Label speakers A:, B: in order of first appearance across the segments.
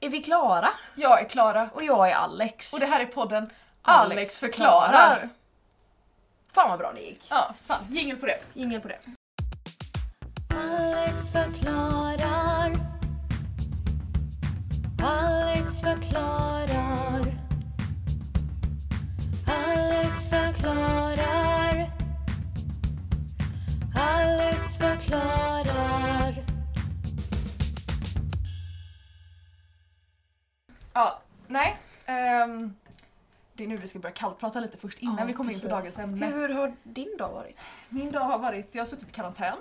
A: Är vi klara?
B: Jag är Klara.
A: Och jag är Alex.
B: Och det här är podden Alex, förklarar.
A: Fan vad bra det gick.
B: Ja, fan. Jingel på det.
A: Ingen på det.
C: Alex förklarar. Alex förklarar. Alex förklarar. Alex förklarar.
B: Ja, nej. ehm, det är nu vi ska börja kallprata lite först innan
A: Ja,
B: vi kommer in på
A: precis.
B: dagens ämne.
A: Hur har din dag varit?
B: Min dag har varit, jag har suttit i karantän.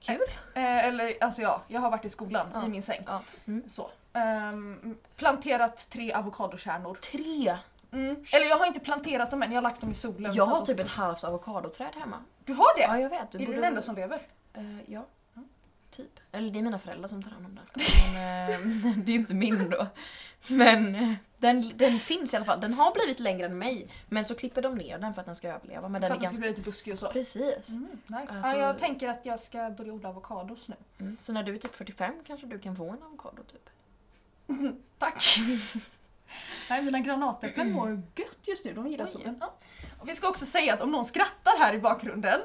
A: Kul.
B: Eh, eller alltså ja, jag har varit i skolan
A: Ja.
B: i min säng.
A: Ja. Mm.
B: Så. Ehm, planterat tre avokadokärnor.
A: Tre.
B: Mm. Eller jag har inte planterat dem än, jag har lagt dem i solen.
A: Jag har typ ett halvt avokadoträd hemma.
B: Du har det?
A: Ja, jag vet.
B: är du den enda som lever?
A: Eh, ja.
B: Mm.
A: Typ. Eller det är mina föräldrar som tar hand om den. Men, eh, det är inte min då. Men eh, den, den finns i alla fall. Den har blivit längre än mig. Men så klipper de ner den för att den ska överleva. Men den
B: För
A: är
B: att den ska
A: ganska...
B: bli lite buskig och så.
A: Precis.
B: Mm, nice.
A: Alltså-
B: ja, jag tänker att jag ska börja odla avokados nu.
A: Mm. Så när du är typ 45 kanske du kan få en avokado typ.
B: Tack! Nej, mina granatäpplen mår gött just nu. De gillar
A: Oj.
B: solen. Ja. Och vi ska också säga att om någon skrattar här i bakgrunden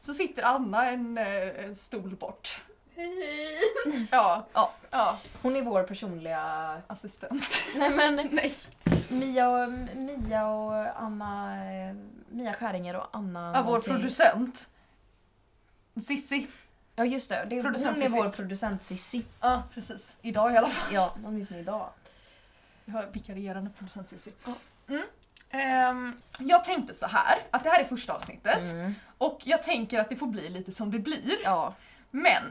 B: så sitter Anna en, eh, en stol bort. Hej! Ja,
A: Ja.
B: ja,
A: Hon är vår personliga...
B: assistent.
A: Nej men
B: Nej.
A: Mia och, Mia och Anna... eh, Mia Skäringer och Anna...
B: Ja, vår
A: någonting.
B: producent. Sissi.
A: Ja just det, det är, hon
B: Producent
A: är
B: Cissi.
A: vår producent Sissi.
B: Ja, precis. Idag i alla fall.
A: Ja, åtminstone idag.
B: Vi har vikarierande producent Cissi.
A: Ja.
B: Mm. Ehm, jag tänkte så här, att det här är första avsnittet
A: Mm.
B: och jag tänker att det får bli lite som det blir.
A: Ja.
B: Men,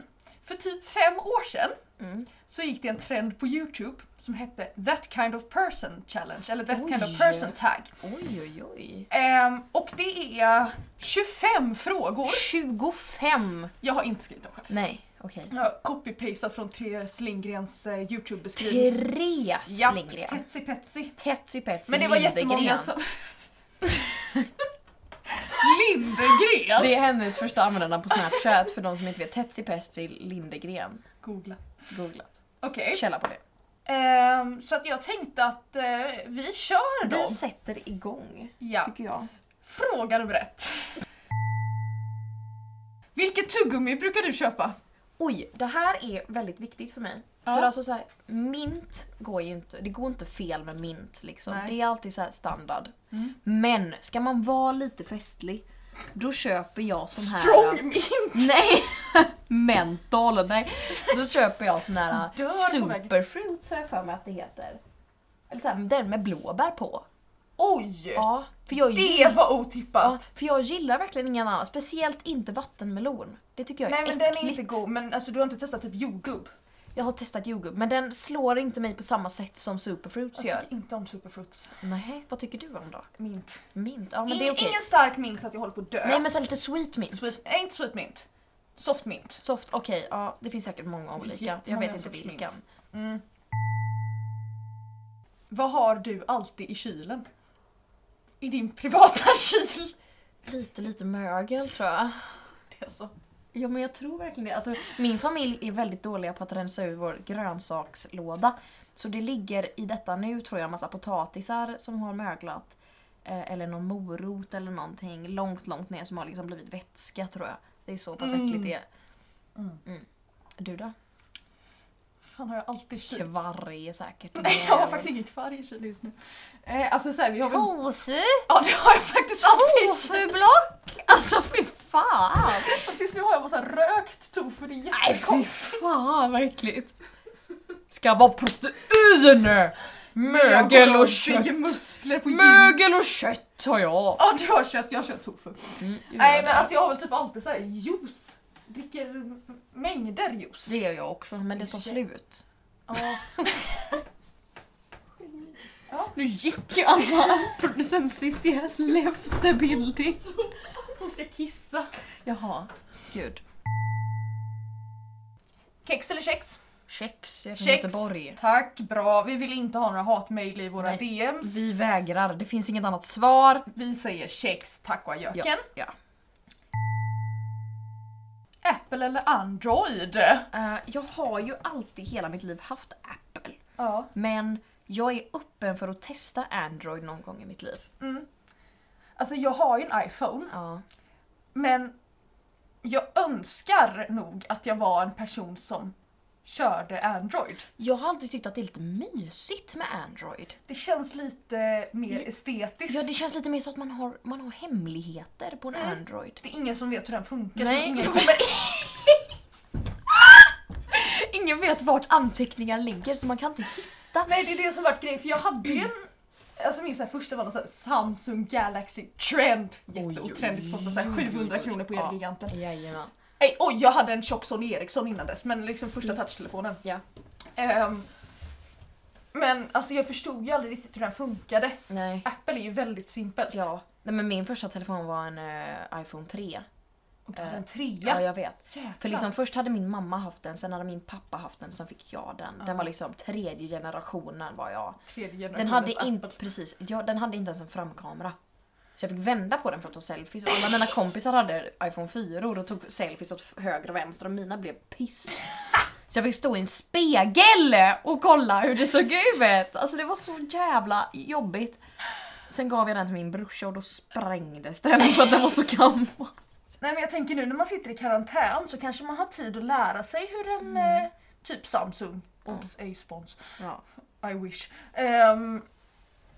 B: för typ fem år sedan
A: Mm.
B: så gick det en trend på Youtube som hette That kind of person challenge, eller That kind
A: Oj.
B: of person tag.
A: Oj oj oj.
B: Ehm, och det är 25 frågor.
A: 25!
B: Jag har inte skrivit dem själv.
A: Nej, okej.
B: Jag har copy-pastat från Therese Lindgrens eh, Youtube-beskrivning.
A: Therese
B: Ja,
A: Lindgren.
B: Tetsi Petsi.
A: Tetsi Petsi
B: Men det var jättemånga som... Lindegren!
A: Det är hennes första användarnamn på Snapchat för de som inte vet. Tetsi Petsi Lindegren.
B: Googla.
A: Googlat.
B: Okej.
A: Källa på det.
B: Ehm, så att jag tänkte att eh, vi kör
A: Vi
B: dem.
A: sätter igång,
B: Ja.
A: tycker jag.
B: Fråga nummer ett. Vilket tuggummi brukar du köpa?
A: Oj, det här är väldigt viktigt för mig.
B: Ja.
A: För alltså så här, mint går ju inte, det går inte fel med mint liksom.
B: Nej.
A: Det är alltid så här standard.
B: Mm.
A: Men ska man vara lite festlig, då köper jag sån här...
B: Strong mint!
A: Nej! Mentol, nej. Då köper jag sån här
B: Dör på väg.
A: superfruit så har jag för mig att det heter. Eller så här, den med blåbär på.
B: Oj!
A: Ja, för jag,
B: Det
A: gillar,
B: var
A: ja,
B: otippat!
A: för jag gillar verkligen ingen annan, speciellt inte vattenmelon. Det tycker jag är
B: Nej men den
A: äckligt.
B: är inte god, men alltså, du har inte testat typ jordgubb?
A: Jag har testat jordgubb men den slår inte mig på samma sätt som superfruits
B: Jag
A: gör.
B: tycker inte om superfruits.
A: Nej, vad tycker du om då?
B: Mint.
A: Mint? Ja men det är
B: In,
A: okej.
B: Ingen stark mint så att jag håller på att dö.
A: Nej men så här lite sweet mint.
B: Sweet, nej, inte sweet mint. Soft mint.
A: Soft, okej, ja det finns säkert många
B: finns
A: olika. Jag
B: jättemånga
A: vet inte
B: sorters mint.
A: vilken.
B: Mm. Vad har du alltid i kylen? I din privata kyl?
A: Lite, lite mögel tror jag.
B: Det är alltså, så.
A: Ja men jag tror verkligen det. Alltså, min familj är väldigt dåliga på att rensa ur vår grönsakslåda. Så det ligger i detta nu tror jag massa potatisar som har möglat. Eh, eller någon morot eller någonting långt, långt ner som har liksom blivit vätska tror jag. Det är så pass
B: Mm.
A: äckligt det är.
B: Mm.
A: Mm. Du då?
B: fan har jag alltid i kylen?
A: Kvarg är säkert.
B: Nej, jag har faktiskt ingen kvar i kylen just nu. Eh, alltså såhär, vi har väl...
A: Tofu!
B: Ja, det har jag faktiskt alltid i kylen.
A: Tofublock! Alltså fy fan!
B: Fast just nu har jag bara så här rökt tofu, det är
A: fy
B: jättekonstigt.
A: fan vad äckligt. Ska vara proteiner! Mögel och kött!
B: Jag muskler på gym.
A: Mögel och kött har jag! Mm,
B: Ja, du har kött, jag har kött tofu. Nej, men alltså jag har väl typ alltid såhär juice. Dricker mängder juice.
A: Det gör jag också, men det tar slut.
B: Ja.
A: Nu gick alla producent Cissi has left the building.
B: Hon ska kissa.
A: Jaha, gud.
B: Kex eller kex?
A: Kex, jag är från
B: Kex.
A: Göteborg.
B: Tack, bra. Vi vill inte ha några hatmejl i våra
A: Nej.
B: DMs.
A: Vi vägrar, det finns inget annat svar.
B: Vi säger kex, tack och adjöken.
A: Ja, ja.
B: Apple eller Android?
A: Eh, jag har ju alltid hela mitt liv haft Apple.
B: Ja.
A: Men jag är öppen för att testa Android någon gång i mitt liv.
B: Mm. Alltså jag har ju en iPhone,
A: Ja.
B: men jag önskar nog att jag var en person som körde Android.
A: Jag har alltid tyckt att det är lite mysigt med Android.
B: Det känns lite mer
A: Ja,
B: estetiskt.
A: Ja, det känns lite mer så att man har, man har hemligheter på en
B: Mm.
A: Android.
B: Det är ingen som vet hur den funkar.
A: Nej.
B: Så ingen kommer...
A: Ingen vet vart anteckningar ligger så man kan inte hitta.
B: Nej, det är det som varit grejen. För jag hade ju en... Alltså min så här första var någon så här Samsung Galaxy Trend. Jätteotrendigt. Kostade så här 700 kronor på Elgiganten.
A: Jajamän.
B: Nej, oj, jag hade en tjock Sony Ericsson innan dess, men liksom första touchtelefonen.
A: Mm. Ja.
B: Ehm, men alltså jag förstod ju aldrig riktigt hur den funkade.
A: Nej.
B: Apple är ju väldigt simpelt.
A: Ja. Nej men min första telefon var en eh, iPhone 3.
B: Och du hade
A: Eh,
B: en trea.
A: Ja, jag vet. För
B: Jäklar.
A: liksom först hade min mamma haft den, sen hade min pappa haft den, sen fick jag den. Den var liksom tredje generationen var jag.
B: Tredje
A: Den
B: generationens
A: hade, in,
B: Apple.
A: precis, ja, den hade inte ens en framkamera. Så jag fick vända på den för att ta selfies och alla mina kompisar hade iPhone 4 och då tog selfies åt höger och vänster och mina blev piss. Så jag fick stå i en spegel och kolla hur det såg ut! Alltså det var så jävla jobbigt. Sen gav jag den till min brorsa och då sprängdes den för att den var så gammal.
B: Nej men jag tänker nu när man sitter i karantän så kanske man har tid att lära sig hur en
A: Mm.
B: eh, typ Samsung, obs, ej spons,
A: Ja,
B: I wish. Ehm,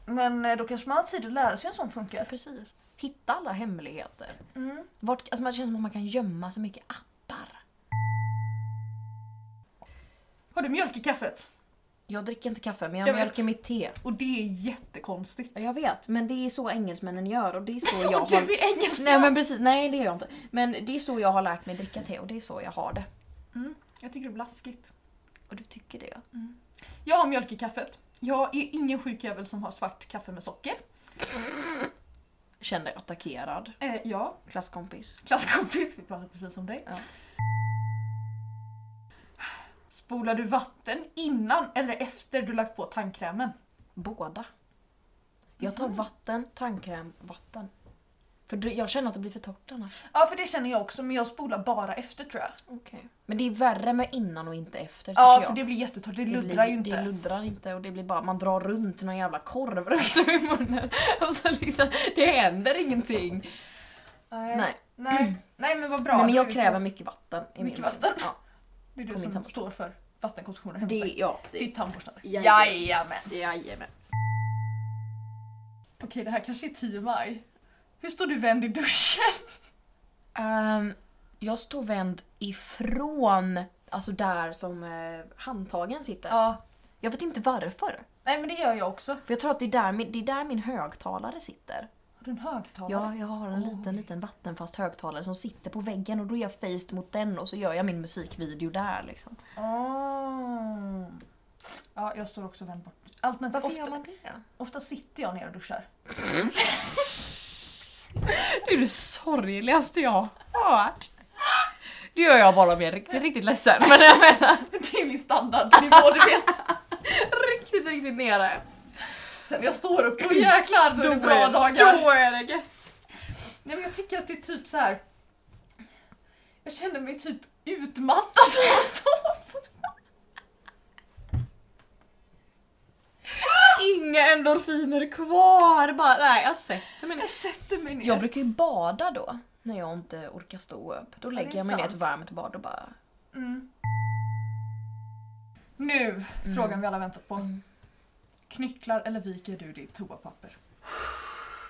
B: men eh, då kanske man har tid att lära sig hur en sån funkar.
A: precis. Hitta alla hemligheter.
B: Mm.
A: Vart, alltså man känns som att man kan gömma så mycket appar.
B: Har du mjölk i kaffet?
A: Jag dricker inte kaffe men jag,
B: Jag vet.
A: mjölkar mitt te.
B: Och det är jättekonstigt.
A: Ja, Jag vet, men det är så engelsmännen gör och det är så jag
B: Och du
A: har...
B: är engelsman!
A: Nej men precis, nej det är jag inte. Men det är så jag har lärt mig dricka te och det är så jag har det.
B: Jag tycker det är blaskigt.
A: Och du tycker det?
B: Jag har mjölk i kaffet. Jag är ingen sjuk jävel som har svart kaffe med socker.
A: Kände attackerad.
B: Eh, ja,
A: Klasskompis.
B: klasskompis, vi pratade precis om dig.
A: Ja.
B: Spolar du vatten innan eller efter du lagt på tandkrämen?
A: Båda. Jag
B: Mm.
A: tar vatten, tandkräm, vatten. För det- jag känner att det blir för torrt annars.
B: Ja, för det känner jag också, men jag spolar bara efter tror jag.
A: Okay. Men det är värre med innan och inte efter tycker
B: Ja,
A: jag.
B: för det blir jättetorrt, det
A: Det blir-
B: luddrar ju inte.
A: Det luddrar inte och det blir bara man drar runt någon jävla korv runt om i munnen. Och så liksom, det händer ingenting.
B: Nej. Nej.
A: Nej. Mm.
B: Nej. men vad bra.
A: Nej, men jag
B: Du-
A: kräver mycket vatten. i min
B: Mycket
A: mun.
B: vatten?
A: Ja,
B: Det är
A: på
B: du
A: min
B: som
A: tandborste.
B: står för vattenkonsumtionen hemma
A: det,
B: hos dig.
A: ja, det,
B: Ditt tandborstande.
A: Jajamän.
B: Jajamän.
A: Jajamän.
B: Okej, det här kanske är 10 maj. Hur står du vänd i duschen?
A: Ehm, jag står vänd ifrån alltså där som eh, handtagen sitter.
B: Ja.
A: Jag vet inte varför.
B: Nej, men det gör jag också.
A: För jag tror att det är där min, det är där min högtalare sitter.
B: Har du en högtalare?
A: Ja, jag har en liten,
B: Oj.
A: liten vattenfast högtalare som sitter på väggen och då är jag faced mot den och så gör jag min musikvideo där liksom.
B: Ah. Ja, jag står också vänd bort. Alternativt,
A: Varför
B: ofta,
A: gör man det?
B: ofta sitter jag ner och duschar.
A: Det är det sorgligaste jag har hört. Det gör jag bara om jag är riktigt, riktigt ledsen. Men jag menar
B: Det är min standardnivå, du vet.
A: riktigt, riktigt nere.
B: Sen när jag står upp, då jäklar då är det bra dagar.
A: Då är det gött.
B: Nej, men jag tycker att det är typ så här. Jag känner mig typ utmattad när jag står upp.
A: Inga endorfiner kvar. Bara, nej, alltså, jag sätter mig ner.
B: Jag sätter mig ner.
A: Jag brukar ju bada då. När jag inte orkar stå upp. Då lägger
B: det är
A: jag mig ner i ett
B: sant.
A: varmt bad och bara...
B: Mm. Nu, frågan vi alla väntat på. Knycklar eller viker du ditt toapapper?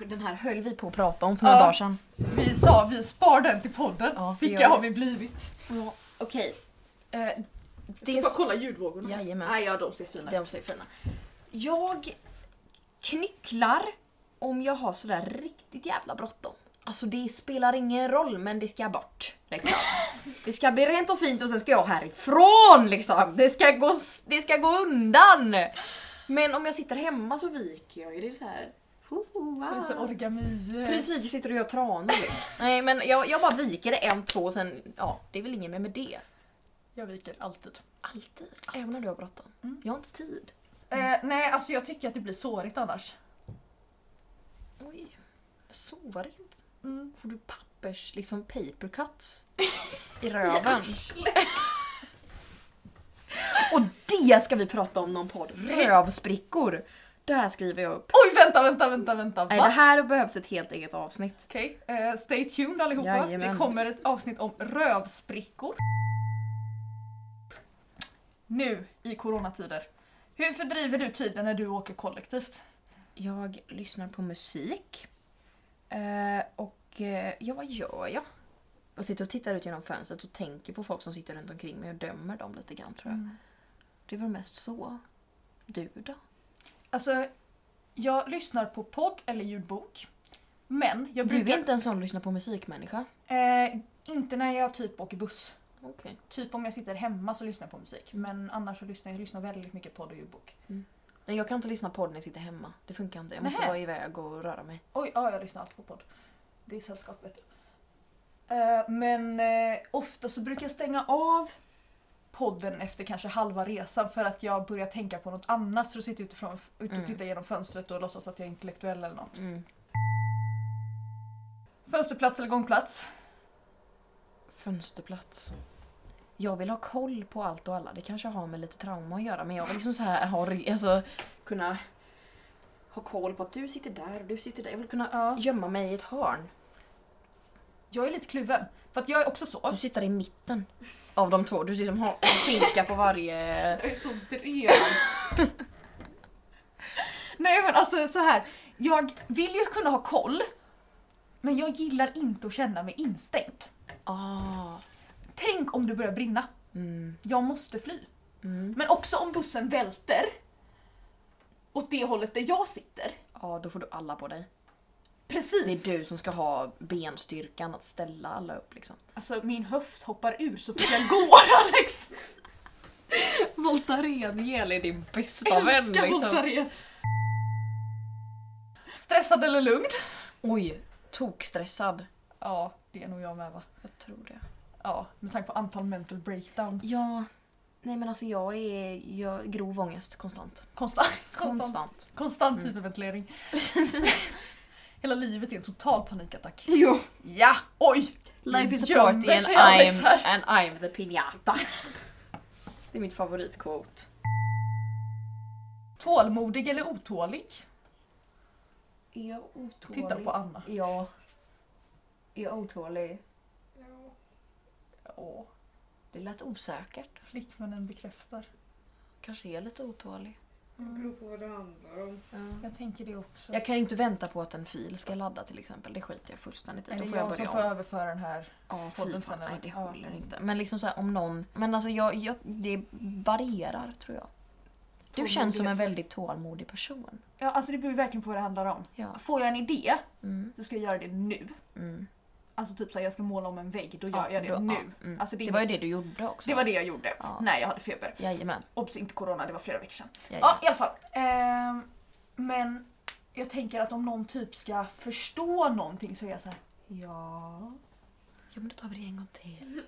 A: Den här höll vi på att prata om för några
B: Ja.
A: dagar sedan.
B: Vi sa vi spar den till podden.
A: Ja, det
B: Vilka
A: gör vi.
B: har vi blivit?
A: Ja, okej. Eh, det
B: Jag
A: är
B: ska
A: så...
B: bara kolla ljudvågorna.
A: Jajamän.
B: Nej, ja, de ser fina ut.
A: De ser fina. Jag knycklar om jag har sådär riktigt jävla bråttom. Alltså det spelar ingen roll men det ska bort. Liksom. Det ska bli rent och fint och sen ska jag härifrån liksom. Det ska gå, s- det ska gå undan. Men om jag sitter hemma så viker jag ju det är så här. ho, ho,
B: Det är så
A: ah.
B: origami.
A: Precis, jag sitter och gör tranor. Nej men jag, jag bara viker det en, två och sen, ja det är väl inget mer med det.
B: Jag viker alltid.
A: Alltid. Även om du har bråttom.
B: Mm.
A: Jag har inte tid. Mm.
B: Eh, nej, alltså jag tycker att det blir sårigt annars.
A: Oj. Sårigt.
B: Mm.
A: Får du pappers, liksom paper cuts i röven? och det det ska vi prata om någon podd. Rövsprickor. Det här skriver jag upp.
B: Oj, vänta, vänta, vänta, vänta.
A: Nej,
B: va?
A: det här behövs ett helt eget avsnitt.
B: Okej, eh, stay tuned allihopa.
A: Jajamän.
B: Det kommer ett avsnitt om rövsprickor. Nu i coronatider. Hur fördriver du tiden när du åker kollektivt?
A: Jag lyssnar på musik. Eh, och eh, ja, vad gör jag? Jag sitter och tittar ut genom fönstret och tänker på folk som sitter runt omkring mig och dömer dem lite grann tror jag. Mm. Det är väl mest så. Du då?
B: Alltså, jag lyssnar på podd eller ljudbok. Men jag
A: Du
B: brukar...
A: är inte en sån lyssna på musikmänniska.
B: Eh, inte när jag typ åker buss.
A: Okej.
B: Typ om jag sitter hemma så lyssnar jag på musik. Men annars så lyssnar jag, jag lyssnar väldigt mycket podd och ljudbok.
A: Nej, Jag kan inte lyssna på podd när jag sitter hemma. Det funkar inte. Jag måste
B: Nähä.
A: vara iväg och röra mig.
B: Oj, ja, jag lyssnar alltid på podd. Det är sällskapet. Eh, men eh, ofta så brukar jag stänga av podden efter kanske halva resan för att jag börjar tänka på något annat. Så då sitter jag utifrån, ut och
A: Mm.
B: tittar genom fönstret och låtsas att jag är intellektuell eller något.
A: Mm.
B: Fönsterplats eller gångplats?
A: Fönsterplats. Jag vill ha koll på allt och alla. Det kanske har med lite trauma att göra men jag vill liksom så här ha, rygg- alltså, kunna ha koll på att du sitter där och du sitter där. Jag vill kunna
B: Ja.
A: gömma mig i ett hörn.
B: Jag är lite kluven. För att jag är också så.
A: Du sitter i mitten av de två. Du liksom har en skinka på varje...
B: Jag är så bred. Nej men alltså så här. Jag vill ju kunna ha koll. Men jag gillar inte att känna mig instängd.
A: Ah.
B: Tänk om det börjar brinna.
A: Mm.
B: Jag måste fly.
A: Mm.
B: Men också om bussen välter. Åt det hållet där jag sitter.
A: Ja, då får du alla på dig. Det
B: Precis.
A: är du som ska ha benstyrkan att ställa alla upp liksom.
B: Alltså min höft hoppar ur så fort jag går Alex.
A: Voltaren gel är din bästa
B: Älskar
A: liksom.
B: Voltaren. Stressad eller lugn?
A: Oj, tokstressad.
B: Ja, det är nog jag med va.
A: Jag tror det.
B: Ja, med tanke på antal mental breakdowns.
A: Ja, nej men alltså jag är jag, grov ångest konstant.
B: Konstant, konstant,
A: Konstant.
B: konstant hyperventilering. Hela livet är en total panikattack.
A: jo.
B: Ja, oj!
A: Life is a
B: Gömmer
A: party and
B: sig Alex
A: I'm,
B: här.
A: and I'm the piñata. Det är mitt favoritquote.
B: Tålmodig eller otålig?
A: Är jag otålig?
B: Titta på Anna.
A: Ja. Är jag otålig?
B: Åh,
A: Det lät osäkert.
B: flickvännen bekräftar.
A: Kanske är jag lite otålig.
D: Det beror på vad det handlar om.
B: Jag tänker det också.
A: Jag kan inte vänta på att en fil ska ladda till exempel. Det skiter jag fullständigt i.
B: är
A: Då
B: det
A: får
B: jag,
A: jag
B: som
A: börja
B: får
A: om.
B: överföra den här?
A: Ja,
B: Får
A: fy
B: den
A: fan.
B: sen,
A: Nej,
B: eller?
A: det
B: Ja.
A: håller inte. Men liksom så här, om någon... Men alltså jag, jag, det varierar tror jag. Du känns som en väldigt tålmodig person.
B: Ja, alltså det beror ju verkligen på vad det handlar om.
A: Ja.
B: Får jag en idé
A: Mm,
B: så ska jag göra det nu.
A: mm.
B: Alltså typ såhär, jag ska måla om en vägg, då gör
A: Ja,
B: jag det
A: då-
B: nu.
A: ja, mm.
B: Alltså, det,
A: det,
B: är
A: var ju
B: inget-
A: det du gjorde också.
B: det var det jag gjorde
A: Ja.
B: när jag hade feber.
A: Jajamän.
B: Obs, inte corona, det var flera veckor sedan. Ja,
A: jajamän.
B: i alla fall. Ehm, men jag tänker att om någon typ ska förstå någonting så är jag så här. ja...
A: Ja men då tar vi det en gång till.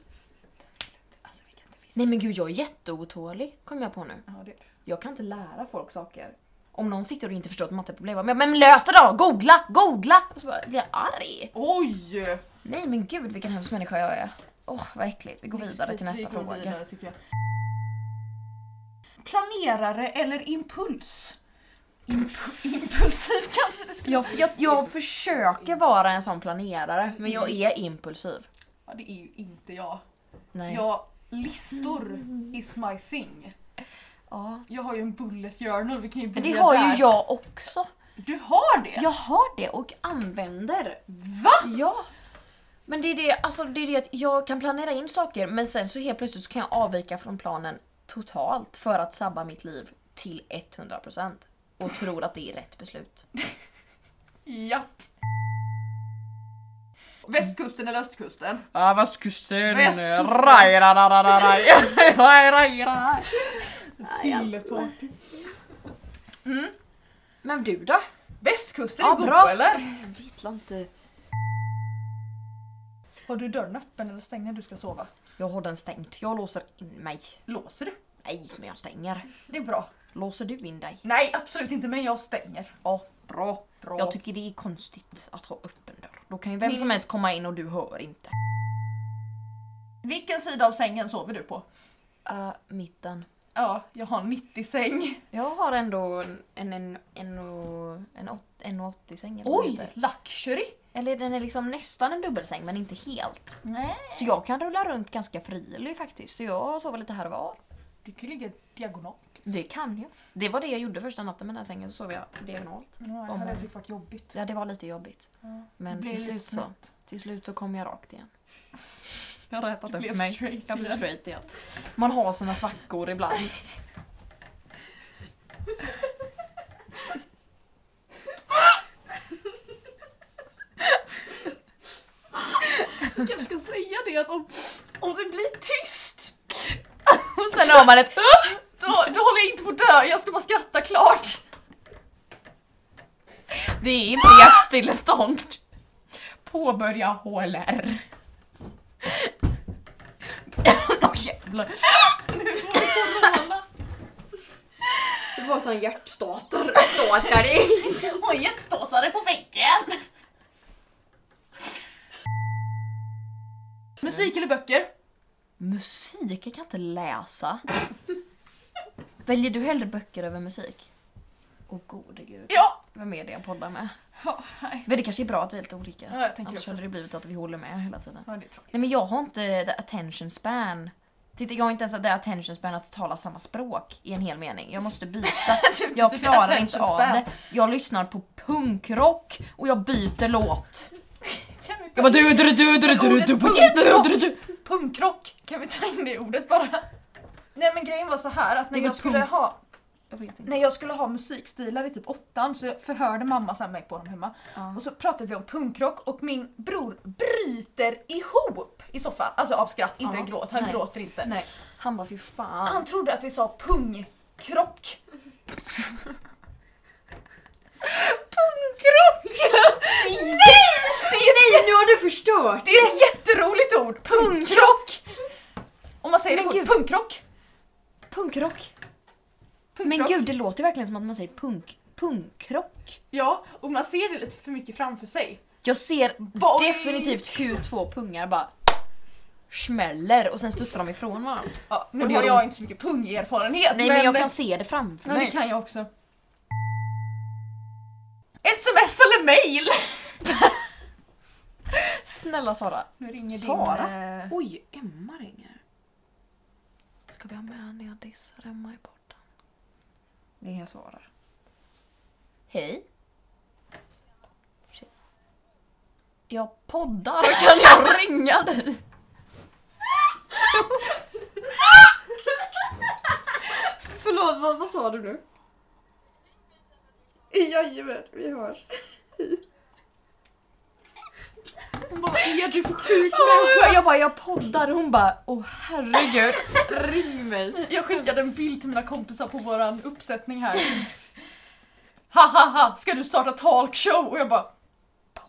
B: Alltså vi kan inte fiska.
A: Nej men gud jag är jätteotålig, kom jag på nu.
B: Ja, det,
A: Jag kan inte lära folk saker. Om någon sitter och inte förstår ett matteproblem, jag bara, men, men lös det då! Googla! Googla! Och så bara, blir jag arg.
B: oj!
A: Nej men gud vilken hemsk människa jag är. Åh vad äckligt, vi går vidare till
B: Vi
A: nästa
B: går
A: fråga.
B: vidare, tycker jag. Planerare eller impuls? Imp- impulsiv kanske det skulle
A: Jag, jag, jag försöker vara en sån planerare, men jag är impulsiv.
B: ja, Det är ju inte jag.
A: Nej.
B: Jag, listor is my thing.
A: Ja.
B: Jag har ju en bullet journal, vi kan ju
A: Men det
B: börja
A: har
B: där.
A: ju jag också.
B: Du har det?
A: Jag har det och använder.
B: Va?
A: Ja. Men det är det, alltså det är det att jag kan planera in saker men sen så helt plötsligt så kan jag avvika från planen totalt för att sabba mitt liv till 100% och tror att det är rätt beslut.
B: Japp. Västkusten eller östkusten?
A: Ah, västkusten!
B: Västkusten.
A: Raj, ra, ra, ra, ra, raj. Raj, raj, ra.
B: Fylleparty.
A: Men du då?
B: Mm. Västkusten
A: Ja,
B: är
A: bra.
B: bra. eller?
A: Jag vet inte.
B: Har du dörren öppen eller stängd när du ska sova?
A: Jag har den stängd. Jag låser in mig.
B: Låser du?
A: Nej, men jag stänger.
B: Det är bra.
A: Låser du in dig?
B: Nej, absolut inte, men jag stänger.
A: Ja, bra.
B: Bra.
A: Jag tycker det är konstigt att ha öppen dörr. Då kan ju vem som helst komma in och du hör inte.
B: Vilken sida av sängen sover du på?
A: Uh, Ah, mitten.
B: ja, jag har 90 säng.
A: Jag har ändå en, en, en, en, och- en, åt- en 80 säng. eller vad det
B: Oj,
A: heter.
B: luxury!
A: Eller den är liksom nästan en dubbelsäng men inte helt.
B: Nej.
A: Så jag kan rulla runt ganska frilig faktiskt. Så jag sover lite här och var.
B: Du kan ju ligga diagonalt.
A: Det kan jag. Det var det jag gjorde första natten med den här sängen, så sov jag diagonalt.
B: Ja, det
A: Om-
B: hade jag tyckt varit jobbigt.
A: Ja, det var lite jobbigt. Men till
B: Blir lite
A: slut, så,
B: snett.
A: till slut så kom jag rakt igen. Jag har rätat
B: Du blev straight
A: Jag blev
B: igen.
A: straight igen. Man har sina svackor ibland.
B: Jag kanske ska säga det att om, om det blir tyst
A: Och sen har man ett
B: då, då håller jag inte på att dö, jag ska bara skratta klart.
A: Det är inte jaktstillestånd. Påbörja HLR. Åh jävlar.
D: Det var sån hjärtstartare. Startare.
B: Och jätteståtare på väggen. Musik eller böcker?
A: Musik? Jag kan inte läsa. Väljer du hellre böcker över musik? Åh gode gud.
B: Ja.
A: Vem är det jag poddar med?
B: Ja, nej.
A: Men det kanske är bra att vi är lite olika.
B: Ja, jag tänker
A: Annars
B: också.
A: hade det blivit att vi håller med hela tiden.
B: Ja, det är tråkigt.
A: Nej men jag har inte the attention span. Titta jag har inte ens the attention span att tala samma språk i en hel mening. Jag måste byta. Jag klarar inte av det. Jag lyssnar på punkrock och jag byter låt.
B: Kan vi
A: Jag bara
B: ta
A: du du du du du du du du
B: punkrock? Kan vi ta in det ordet bara? Nej men grejen var så här att när
A: Det är
B: jag
A: väl
B: skulle
A: punk.
B: ha
A: Jag vet inte.
B: när jag skulle ha musikstilar i typ åttan så förhörde mamma så här mig på dem hemma.
A: Ja.
B: Och så pratade vi om punkrock och min bror bryter ihop i soffan. Alltså av skratt, inte
A: Ja.
B: gråt. Han
A: Nej.
B: gråter inte.
A: Nej. Han bara fy fan.
B: Han trodde att vi sa pungkrock.
A: Punkrock!
B: Nej!
D: Nej nu har du förstört!
B: Det är ett jätteroligt ord! Punkrock! Om man säger det
A: Men
B: fort,
A: gud.
B: punkrock.
A: Punkrock.
B: punkrock.
A: Men gud det låter verkligen som att man säger punk. Punkrock.
B: Ja, och man ser det lite för mycket framför sig.
A: Jag ser
B: Boing!
A: definitivt hur två pungar bara smäller och sen studsar de ifrån varandra.
B: Ja, nu
A: Och det
B: har
A: gör
B: jag
A: ont.
B: inte så mycket pungerfarenhet
A: Nej men jag kan se det framför
B: Ja, det
A: mig.
B: kan jag också. Sms eller mail?
A: Snälla Sara.
B: Nu ringer
A: Sara?
B: din... eh,
A: Oj, Emma ringer. Ska vi ha med henne när jag dissar Emma i porten? Det är jag svarar. Hej. Tjena. Jag poddar, kan jag ringa dig?
D: Förlåt, vad, vad sa du nu? Jajamän, vi hörs.
B: Hon bara, vad är du för sjuk
A: Jag bara, jag poddar hon bara, åh herregud, ring mig.
B: Jag skickade en bild till mina kompisar på våran uppsättning här. Ha ha ha, ska du starta talkshow? Och jag bara,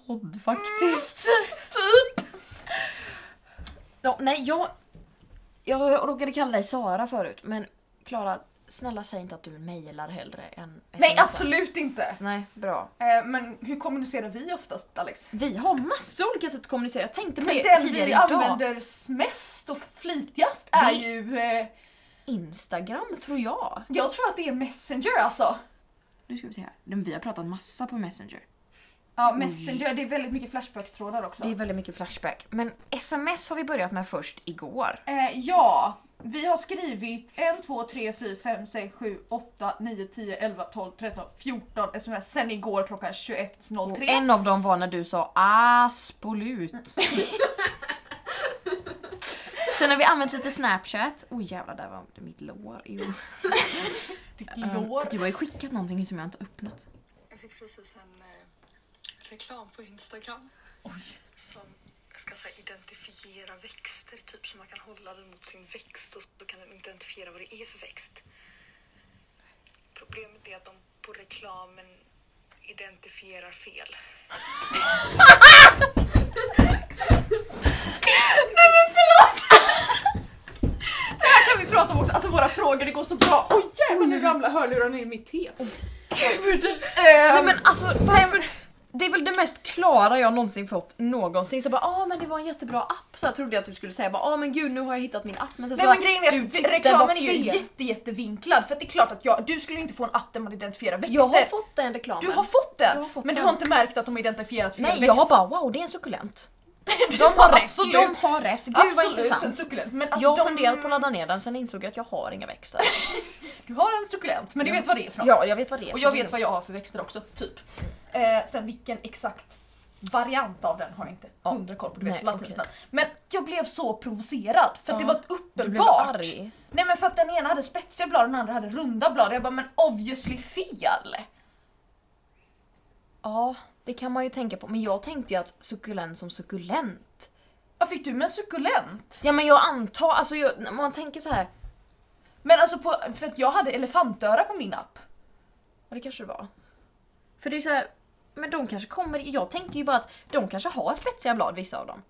A: Podd faktiskt.
B: typ!
A: Ja, nej, jag, jag råkade kalla dig Sara förut, men Klara, snälla säg inte att du mejlar hellre än
B: Nej
A: smsar.
B: absolut inte!
A: Nej, bra.
B: Eh, men hur kommunicerar vi oftast Alex?
A: Vi har massa olika sätt att kommunicera. Jag tänkte på
B: Men
A: det
B: den
A: Eh, tidigare
B: vi
A: idag.
B: använder mest och flitigast är
A: Det-
B: ju... Eh,
A: Instagram tror jag.
B: jag tror att det är Messenger alltså.
A: Nu ska vi se här. Men Vi har pratat massa på Messenger.
B: Ja, Messenger, det är väldigt mycket Flashback-trådar också.
A: Det är väldigt mycket Flashback. Men sms har vi börjat med först igår.
B: Eh, ja, vi har skrivit 1, 2, 3, 4, 5, 6, 7, 8, 9, 10, 11, 12, 13, 14 sms sen igår klockan
A: Och
B: 21.03.
A: en av dem var när du sa aspolut. Sen har vi använt lite Snapchat. Oj jävlar, där var mitt lår. Jo.
B: Ditt
A: Um,
B: lår.
A: Du har ju skickat någonting som jag inte har öppnat.
E: Jag fick precis en eh, reklam på Instagram
B: Oj.
E: som ska så här, identifiera växter, typ så man kan hålla den mot sin växt och så kan den identifiera vad det är för växt. Problemet är att de på reklamen identifierar fel.
B: Här kan vi prata om också, alltså våra frågor, det går så bra. Oj jävlar nu ramlar hörlurarna ner i mitt te.
A: Nej
B: Ehm,
A: men alltså varför? det är väl det mest klara jag någonsin fått någonsin. Så bara ah men det var en jättebra app så här trodde jag att du skulle säga. Bara, ah men gud nu har jag hittat min app. Men sen
B: Nej
A: så
B: men grejen är
A: du
B: att
A: tyckte den var
B: reklamen är ju
A: fel.
B: jätte, jättevinklad. För att det är klart att jag, du skulle ju inte få en app där man identifierar växter.
A: Jag har fått den reklamen.
B: du har fått den!
A: Jag har fått
B: men
A: den.
B: du har inte märkt att de har identifierat fel
A: Nej
B: växt.
A: jag har bara wow det är en sukkulent.
B: Du
A: De har rätt,
B: absolut-
A: de har rätt. Gud vad
B: absolut en
A: intressant.
B: Succulent. Men alltså
A: jag
B: de,
A: funderade på att ladda ner den sen insåg jag att jag har inga växter.
B: Du har en succulent, men du vet vad det är för något.
A: Mm. ja jag vet vad det är.
B: Och
A: så
B: jag
A: det är
B: vet vad jag har för växter också, typ. Eh, sen vilken exakt variant av den har jag inte
A: Ja.
B: hundra koll på, du vet
A: Nej,
B: latinskt
A: okej.
B: namn. Men jag blev så provocerad för att
A: Ja.
B: det var
A: Du blev
B: uppenbart.
A: arg.
B: Nej men för att den ena hade spetsiga blad och den andra hade runda blad. Jag bara men obviously fel!
A: Ja det kan man ju tänka på. Men jag tänkte ju att sukkulent som sukkulent.
B: Vad fick du med en succulent?
A: Ja men jag antar, alltså jag, när man tänker så här.
B: Men alltså på, för att jag hade elefantöra på min app.
A: Ja det kanske det var. För det är så här, men de kanske kommer, jag tänker ju bara att de kanske har spetsiga blad vissa av dem.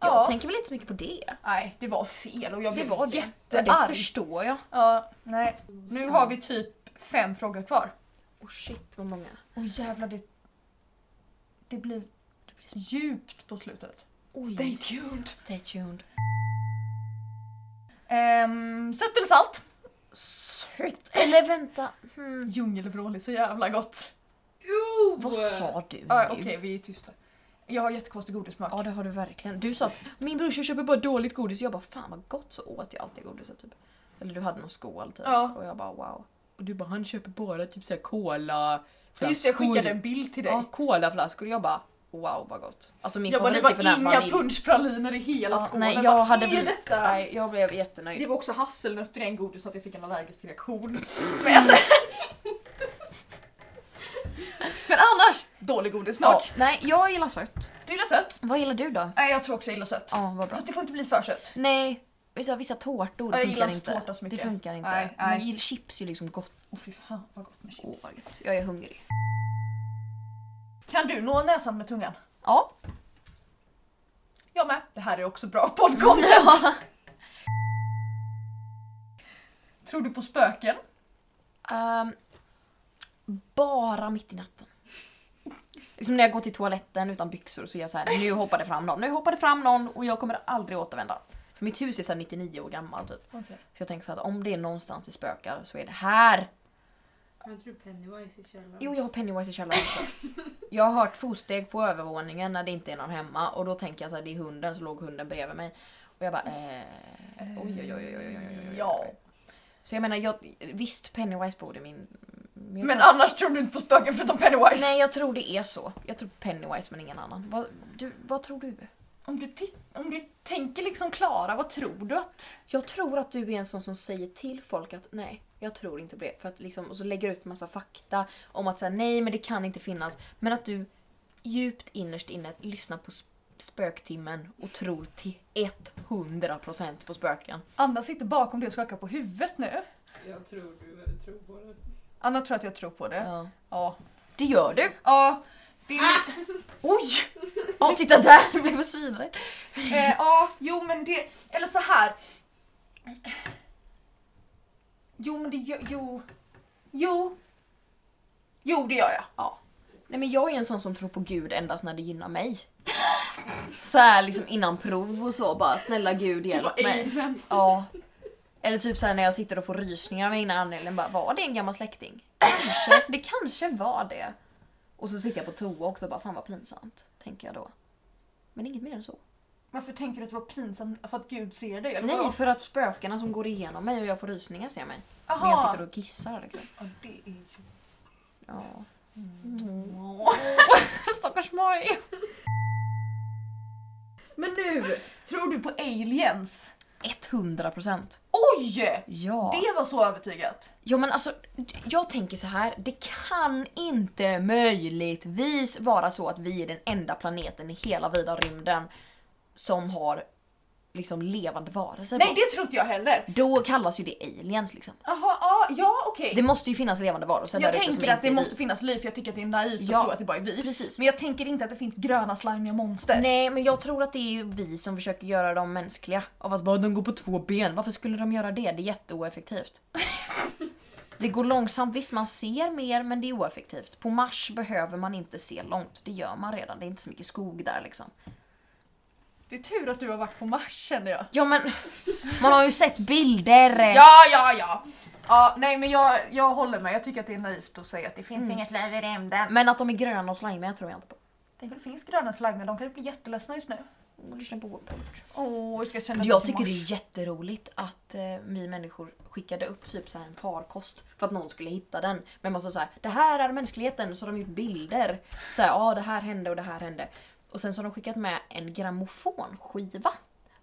A: Jag
B: Ja.
A: tänker väl inte så mycket på det.
B: Nej, det var fel och jag
A: Det
B: blev
A: var det. Ja, det
B: jättearg.
A: förstår jag.
B: Ja, nej. Nu har vi typ fem frågor kvar.
A: Oh shit vad många.
B: Åh jävlar, det, det, blir, det blir djupt på slutet.
A: Oj.
B: Stay tuned!
A: Stay tuned.
B: Um, sött eller salt?
A: Sött. Eller vänta. Hmm.
B: Djungelvrål är så jävla gott.
A: Vad sa du nu?
B: Ah, Okej, vi är tysta. Jag har jättekonstig godissmak.
A: Ja det har du verkligen. Du sa att min brorsa köper bara dåligt godis och jag bara fan vad gott så åt jag alltid godiset typ. Eller du hade någon skål typ
B: Ja.
A: och jag bara wow.
F: Och du bara han köper bara typ såhär cola
B: Just det, jag skickade en bild till dig.
A: Ja, colaflaskor och jag bara wow vad gott. Alltså min
B: jag bara, det
A: favorit är för
B: var
A: den här
B: inga
A: vanilj.
B: punschpraliner i hela
A: Ja,
B: skålen.
A: nej,
B: Vad
A: jag hade
B: är
A: blivit,
B: detta?
A: nej, jag blev jättenöjd.
B: Det var också hasselnötter i en godis så att jag fick en allergisk reaktion. Men, Men annars, dålig godissmak.
A: Ja, nej, jag gillar sött.
B: Du gillar sött?
A: Vad gillar du då?
B: Nej, jag tror också jag gillar sött.
A: Ja, vad bra.
B: Fast det får inte bli för sött.
A: Nej, vissa, vissa tårtor
B: Ja, jag
A: funkar
B: gillar inte
A: inte.
B: tårta så mycket.
A: Det funkar inte.
B: Nej,
A: Men
B: nej.
A: gill- chips är ju liksom gott.
B: Åh fy fan vad gott med
A: Åh,
B: chips.
A: vad gott. Jag är hungrig.
B: Kan du nå näsan med tungan?
A: Ja.
B: Jag med. Det här är också bra
A: Mm.
B: poddcontent. tror du på spöken?
A: Ehm, bara mitt i natten. Liksom när jag går till toaletten utan byxor så är jag så här, nu hoppar det fram någon, nu hoppar det fram någon och jag kommer aldrig återvända. För mitt hus är så här 99 år gammalt typ. Så jag tänker så här att om det är någonstans det spökar så är det här.
G: Har inte du Pennywise i källaren?
A: Jo, jag har Pennywise i källaren också. Jag har hört fotsteg på övervåningen när det inte är någon hemma och då tänker jag så här, det är hunden, så låg hunden bredvid mig. Och jag bara eh, oj, oj, oj, oj, oj, oj, oj, oj.
B: Ja.
A: Så jag menar, jag, visst Pennywise bor i min... jag
B: Men
A: tror-
B: annars tror du inte på spöken förutom Pennywise?
A: Nej, jag tror det är så. Jag tror Pennywise men ingen annan. Vad, du, vad tror du?
B: Om du, titt- om du tänker liksom Klara, vad tror du att...
A: Jag tror att du är en sån som säger till folk att nej, jag tror inte på det. För att liksom, och så lägger ut massa fakta om att säga nej, men det kan inte finnas. Men att du djupt innerst inne lyssnar på sp- spöktimmen och tror till 100% på spöken.
B: Anna sitter bakom dig och skakar på huvudet nu.
G: Jag tror du tror på det.
B: Anna tror att jag tror på det.
A: Ja. Ah!
B: Ja.
A: Det gör du!
B: Ja. Det är
A: Oj! Ja, titta där! Jag blev svinrädd.
B: Eh, ja, jo men det... Eller så här. Jo men det... gör- Jo. Jo. Jo det gör jag.
A: Ja. Nej men jag är ju en sån som tror på gud endast när det gynnar mig. Så här liksom innan prov och så bara snälla gud hjälp mig. Ja. Eller typ såhär när jag sitter och får rysningar av ena anledningen bara var det en gammal släkting? Kanske, det kanske var det. Och så sitter jag på toa också och bara fan vad pinsamt. Tänker jag då. Men inget mer än så.
B: Varför tänker du att det var pinsamt för att Gud ser dig? Eller
A: Nej
B: vadå?
A: för att spökena som går igenom mig och jag får rysningar ser mig. Men jag
B: Jaha.
A: sitter och kissar. liksom.
B: Ja, det är ju...
A: Ja. Mm.
B: Åh.
A: Stackars Maj.
B: Men nu! Tror du på aliens?
A: 100%.
B: Oj!
A: Ja.
B: Det var så övertygat.
A: Ja men alltså, jag tänker så här. Det kan inte möjligtvis vara så att vi är den enda planeten i hela vida rymden som har liksom levande varelser.
B: Nej
A: på.
B: det tror inte jag heller.
A: Då kallas ju det aliens liksom.
B: Jaha, ja, ja okej.
A: Det måste ju finnas levande varelser
B: Jag
A: där ute som
B: tänker att
A: inte
B: det
A: är
B: måste
A: vi.
B: finnas liv för jag tycker att det är naivt
A: Ja.
B: att tro att det bara är vi.
A: Precis.
B: Men jag tänker inte att det finns gröna slimiga monster.
A: Nej men jag tror att det är ju vi som försöker göra dem mänskliga. Av att bara de går på två ben, varför skulle de göra det? Det är jätteoeffektivt. Det går långsamt, visst man ser mer men det är oeffektivt. På Mars behöver man inte se långt, det gör man redan. Det är inte så mycket skog där liksom.
B: Det är tur att du har varit på Mars känner jag.
A: Ja men, man har ju sett bilder!
B: Ja, ja, ja! Ja, nej men jag, jag håller med. Jag tycker att det är naivt att säga att det
A: Mm.
B: finns inget liv i rymden.
A: Men att de är gröna och slimiga tror jag inte på.
B: Tänk om det finns gröna slimer, de kan ju bli jätteledsna just nu.
A: Och lyssna på vår podd.
B: Åh, jag ska känna
A: Jag tycker det är jätteroligt att eh, vi människor skickade upp typ så här en farkost för att någon skulle hitta den. Med massa så här, det här är mänskligheten, så har de gjort bilder. Så här, ja det här hände och det här hände. Och sen så har de skickat med en grammofonskiva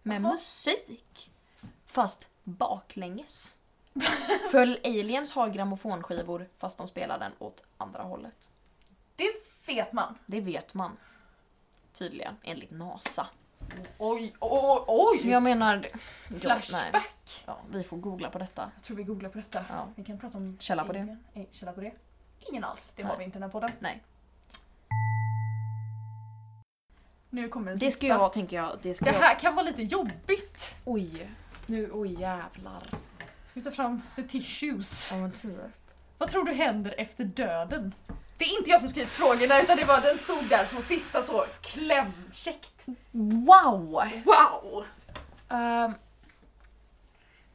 A: med musik. Fast baklänges. för aliens har grammofonskivor fast de spelar den åt andra hållet.
B: Det vet man.
A: Det vet man. Tydligen, enligt NASA.
B: Oj, oj, oj!
A: Som jag menar... ja, nej.
B: Flashback!
A: Ja, vi får googla på detta.
B: Jag tror vi googlar på detta.
A: Ja.
B: Vi kan prata om...
A: Källa på det.
B: Ingen, eh, källa på det. Ingen alls, det
A: Nej.
B: har vi inte i den här podden.
A: Nej.
B: Nu kommer den
A: Det
B: sista.
A: ska jag, tänker jag, det ska
B: Det
A: jag...
B: här kan vara lite jobbigt.
A: Oj! Nu, oj jävlar.
B: Ska vi ta fram the tissues?
A: Äventyr.
B: Vad tror du händer efter döden? Det är inte jag som skrivit frågorna utan det var den stod där som sista så klämkäckt.
A: Wow!
B: Wow!
A: Ehm,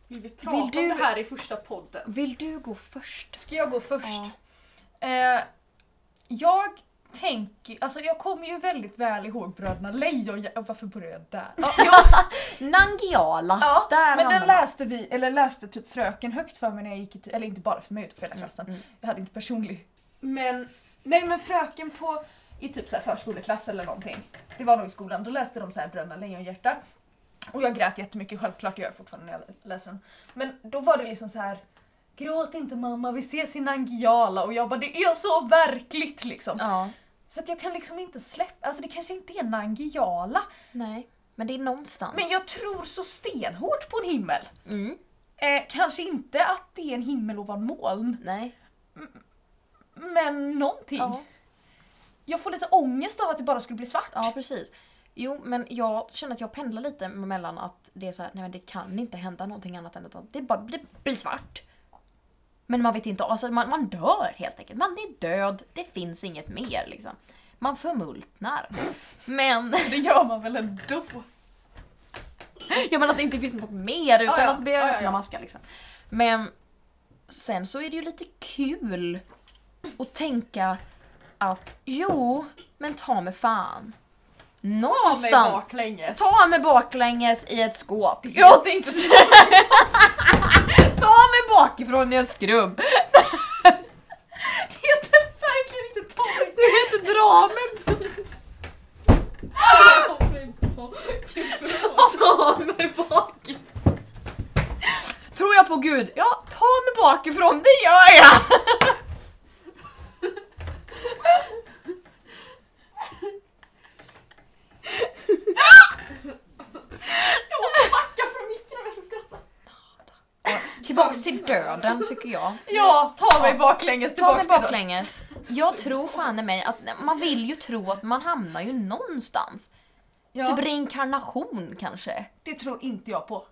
B: Vill vi prata
A: Vill du-
B: om det här i första podden?
A: vill du gå först?
B: Ska jag gå först? Eh, jag tänker, alltså jag kommer ju väldigt väl ihåg Bröderna Lejon. Jag, varför började jag där? Ja, jag,
A: Nangiala!
B: Ja,
A: Där
B: men
A: hamnar
B: den
A: man.
B: läste vi, eller läste typ fröken högt för mig när jag gick i, ty- eller inte bara för mig utan för hela klassen.
A: mm.
B: Jag hade inte personlig. Men, nej men fröken på, i typ så här förskoleklass eller någonting. Det var nog i skolan, då läste de så här Bröderna Lejonhjärta. Och jag grät jättemycket, självklart det gör jag fortfarande när jag läser den. Men då var det liksom så här Gråt inte mamma, vi ses i Nangiala och jag bara det är så verkligt liksom.
A: Ja,
B: Så att jag kan liksom inte släppa, alltså det kanske inte är Nangiala.
A: nej. Men det är någonstans.
B: Men jag tror så stenhårt på en himmel.
A: Mm,
B: Eh, kanske inte att det är en himmel ovan moln,
A: nej. Mm.
B: men någonting.
A: Ja.
B: Jag får lite ångest av att det bara skulle bli svart.
A: ja, precis. Jo, men jag känner att jag pendlar lite mellan att det är så här, nej men det kan inte hända någonting annat än att det bara det blir svart. Men man vet inte, alltså man, man dör helt enkelt. Man är död, det finns inget mer liksom. Man förmultnar. Men...
B: Det gör man väl ändå?
A: Ja men att det inte finns något mer utan
B: Ja, ja.
A: att bli
B: Ja, ja,
A: öppna
B: ja.
A: maskar liksom. Men sen så är det ju lite kul att tänka att jo, men ta mig fan.
B: Mig
A: Någonstans.
B: baklänges.
A: Ta mig baklänges i ett skåp.
B: Jag hade inte
A: ta mig bakifrån i en skrubb.
B: Jag kan verkligen inte ta mig.
A: Du kan inte dra mig Ta mig bakifrån. Tror jag på Gud? Ja, ta mig bakifrån, det gör jag!
B: Jag måste backa från micken om jag ska skratta.
A: Tillbaks till döden tycker jag.
B: Ja, ta mig baklänges
A: Ta mig
B: tillbaks till
A: baklänges. Jag tror fan i mig att man vill ju tro att man hamnar ju någonstans.
B: Ja,
A: Typ Mm. reinkarnation kanske.
B: det tror inte jag på.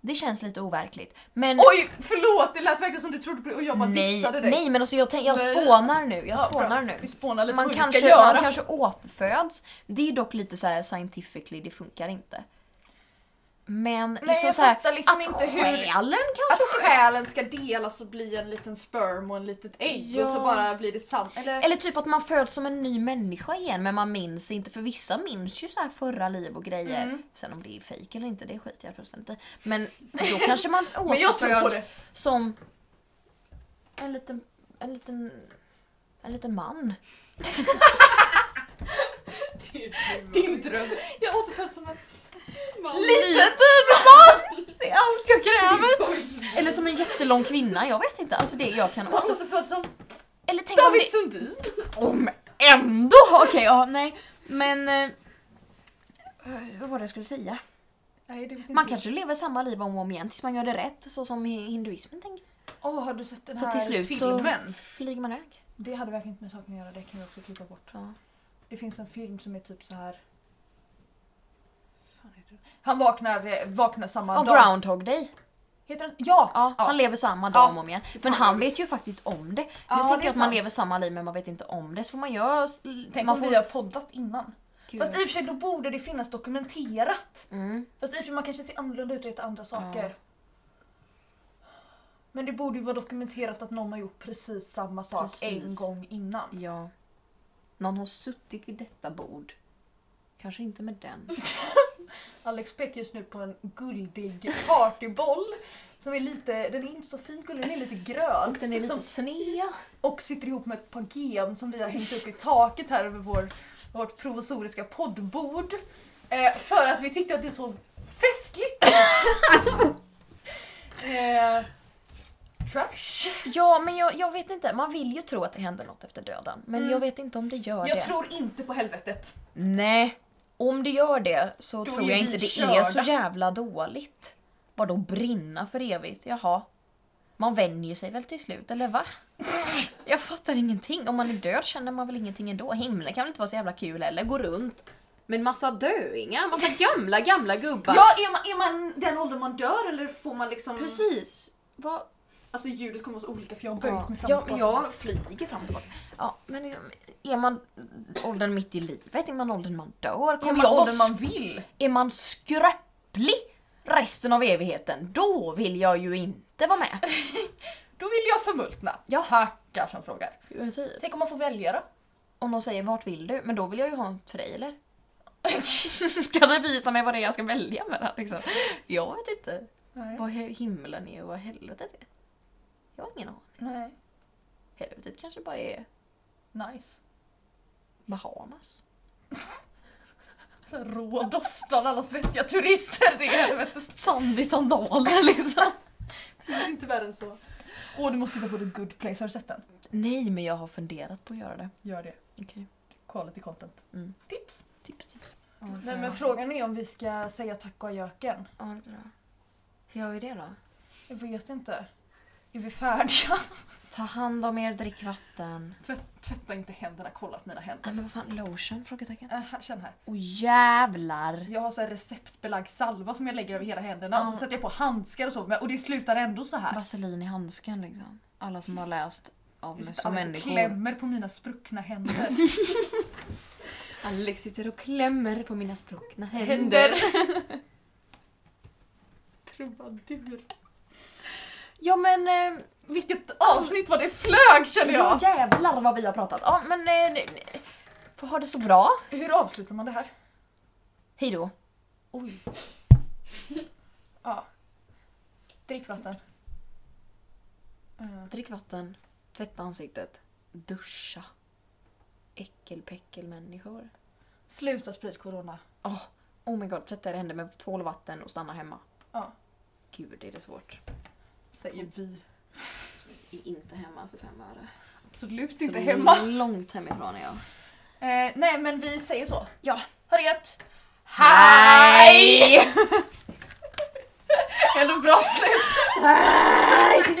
A: Det känns lite overkligt. Men
B: Oj, förlåt! Det lät verkligen som du trodde på det och jag bara
A: nej,
B: dissade dig.
A: nej men alltså jag, tänk, jag
B: Nej.
A: spånar nu. Jag
B: Ja, bra.
A: spånar nu.
B: Vi spånar lite
A: Man
B: på hur vi
A: kanske,
B: ska göra.
A: man kanske återföds. Det är dock lite så här scientifically, det funkar inte. Men
B: Nej,
A: liksom
B: jag
A: så här,
B: fattar liksom
A: att
B: inte hur-
A: själen
B: Att
A: kanske...
B: själen ska delas och bli en liten sperm och en litet ägg och så
A: Ja.
B: bara blir det samma. Eller,
A: Eller typ att man föds som en ny människa igen men man minns inte för vissa minns ju så här förra liv och grejer.
B: Mm.
A: Sen om det är fejk eller inte det skiter jag fullständigt i. Men då kanske man
B: Men jag tror på
A: återföds
B: det.
A: som en liten, en liten, en liten man.
B: Din dröm. Jag återföds som en...
A: Liten
B: typ!
A: man! Det är allt jag kräver! Eller som en jättelång kvinna, jag vet inte. Alltså det jag kan
B: Jag
A: återfödas.
B: återföds som
A: Eller tänk om det...
B: David Sundin.
A: Om ändå! Okej, ja, nej. Men... Eh, vad var det jag skulle säga?
B: Nej, det vet
A: Man kanske lever samma liv om och om igen tills man gör det rätt, så som hi- hinduismen tänker.
B: Åh, har du sett den
A: Så
B: här
A: till slut
B: filmen?
A: så flyger man iväg.
B: Det hade verkligen inte med saken att göra, det kan vi också klippa bort.
A: Ja.
B: Det finns en film som är typ så här. Fan heter den? Han vaknar, eh, vaknar samma
A: Och
B: dag.
A: Groundhog Day.
B: Heter den? Ja!
A: Ja,
B: Ja.
A: Han lever samma
B: Ja.
A: dag om och om igen. Men
B: vad
A: han
B: roligt.
A: vet ju faktiskt om det.
B: Ja,
A: jag
B: det
A: tänker
B: är
A: att man
B: sant.
A: lever samma liv men man vet inte om det. Så får man göra...
B: Tänk
A: man
B: om
A: får,
B: vi har poddat innan.
A: Gud.
B: Fast i och för sig då borde det finnas dokumenterat.
A: mm.
B: Fast i och för sig man kanske ser annorlunda ut och heter andra saker. Men det borde ju vara dokumenterat att någon har gjort precis samma sak
A: Precis.
B: en gång innan.
A: Ja. Någon har suttit vid detta bord. Kanske inte med den.
B: Alex pekar just nu på en guldig partyboll. Som är lite, den är inte så fin gullig, den är lite grön.
A: Och den är lite
B: som,
A: sned.
B: och sitter ihop med ett par gem som vi har hängt upp i taket här över vår, vårt provisoriska poddbord. Eh, för att vi tyckte att det såg festligt ut. eh, trash.
A: Ja, men jag, jag vet inte. Man vill ju tro att det händer något efter döden. Men jag vet inte om det gör det.
B: Mm. Jag tror inte på helvetet.
A: Nej. Om det gör det så
B: Då
A: tror
B: är
A: jag
B: vi
A: inte det är
B: körda.
A: så jävla dåligt. Vadå brinna för evigt? Jaha. Man vänjer sig väl till slut, eller va? Jag fattar ingenting. Om man är död känner man väl ingenting ändå. Himlen kan väl inte vara så jävla kul heller? Gå runt med en massa döingar, massa gamla, gamla gubbar.
B: Ja, är man, är man den åldern man dör eller får man liksom...
A: Precis. Vad
B: Alltså ljudet kommer vara så olika för jag har böjt mig fram
A: ja,
B: och
A: men
B: tillbaka.
A: jag flyger fram och tillbaka. Ja, men liksom, är man åldern mitt i livet? Är man åldern man dör?
B: Är
A: Kommer
B: man
A: jag vara
B: åldern man vill?
A: Är man skröplig resten av evigheten, då vill jag ju inte vara med.
B: Då vill jag förmultna.
A: Ja.
B: Tackar som frågar.
A: typ.
B: Tänk om man får välja då?
A: Om någon säger vart vill du? Men då vill jag ju ha en trailer. kan du visa mig vad det är jag ska välja mellan? Liksom? Jag vet inte
B: Nej.
A: vad he- himlen är och vad helvetet är. Jag har ingen aning.
B: Nej.
A: Helvetet kanske bara är
B: Nice.
A: Bahamas.
B: Rhodos Alltså, bland alla svettiga turister. Det är helvete.
A: Sand i sandaler liksom.
B: Det är inte värre än så. Åh, du måste titta på The Good Place. Har du sett den?
A: Nej, men jag har funderat på att göra det.
B: Gör det.
A: Okej.
B: Quality content.
A: Mm.
B: Tips.
A: Tips, tips.
B: Nej, men frågan är om vi ska säga tack och göken.
A: Ja, det tror jag. Hur gör vi det då?
B: Jag vet inte. Är vi färdiga?
A: Ta hand om er, drick vatten.
B: Tvätt, tvätta inte händerna, kolla att mina händer.
A: Nej men vad fan, lotion? Frågetecken.
B: Äh, här, känn här.
A: Åh jävlar!
B: Jag har så här receptbelagd salva som jag lägger över hela händerna och så
A: Ja.
B: sätter jag på handskar och så men- och det slutar ändå så här.
A: Vaselin i handsken liksom. Alla som har läst av mig
B: Just
A: som
B: att Alex
A: människor.
B: klämmer på mina spruckna händer.
A: Alex sitter och klämmer på mina spruckna
B: händer.
D: Trubadur.
A: Ja men... Eh,
B: Vilket avsnitt var det flög känner
A: ja
B: jag!
A: jävlar vad vi har pratat. Ja men... Eh, ne- ne- får ha det så bra.
B: Hur avslutar man det här?
A: Hej då.
B: Oj. Ja. Drick vatten. Eh,
A: Drick vatten. Tvätta ansiktet. Duscha. Äckelpäckelmänniskor.
B: Sluta sprid corona.
A: Oh, oh my god, tvätta era händer med tvål och vatten och stanna hemma.
B: Ja.
A: Gud, är det svårt.
B: Säger vi.
A: Är inte hemma för fem öre.
B: Absolut inte
A: Så
B: hemma.
A: Långt hemifrån är jag.
B: Eh, nej men vi säger så.
A: Ja.
B: Ha det gött!
A: Hej!
B: Ändå bra slut.
A: Hej!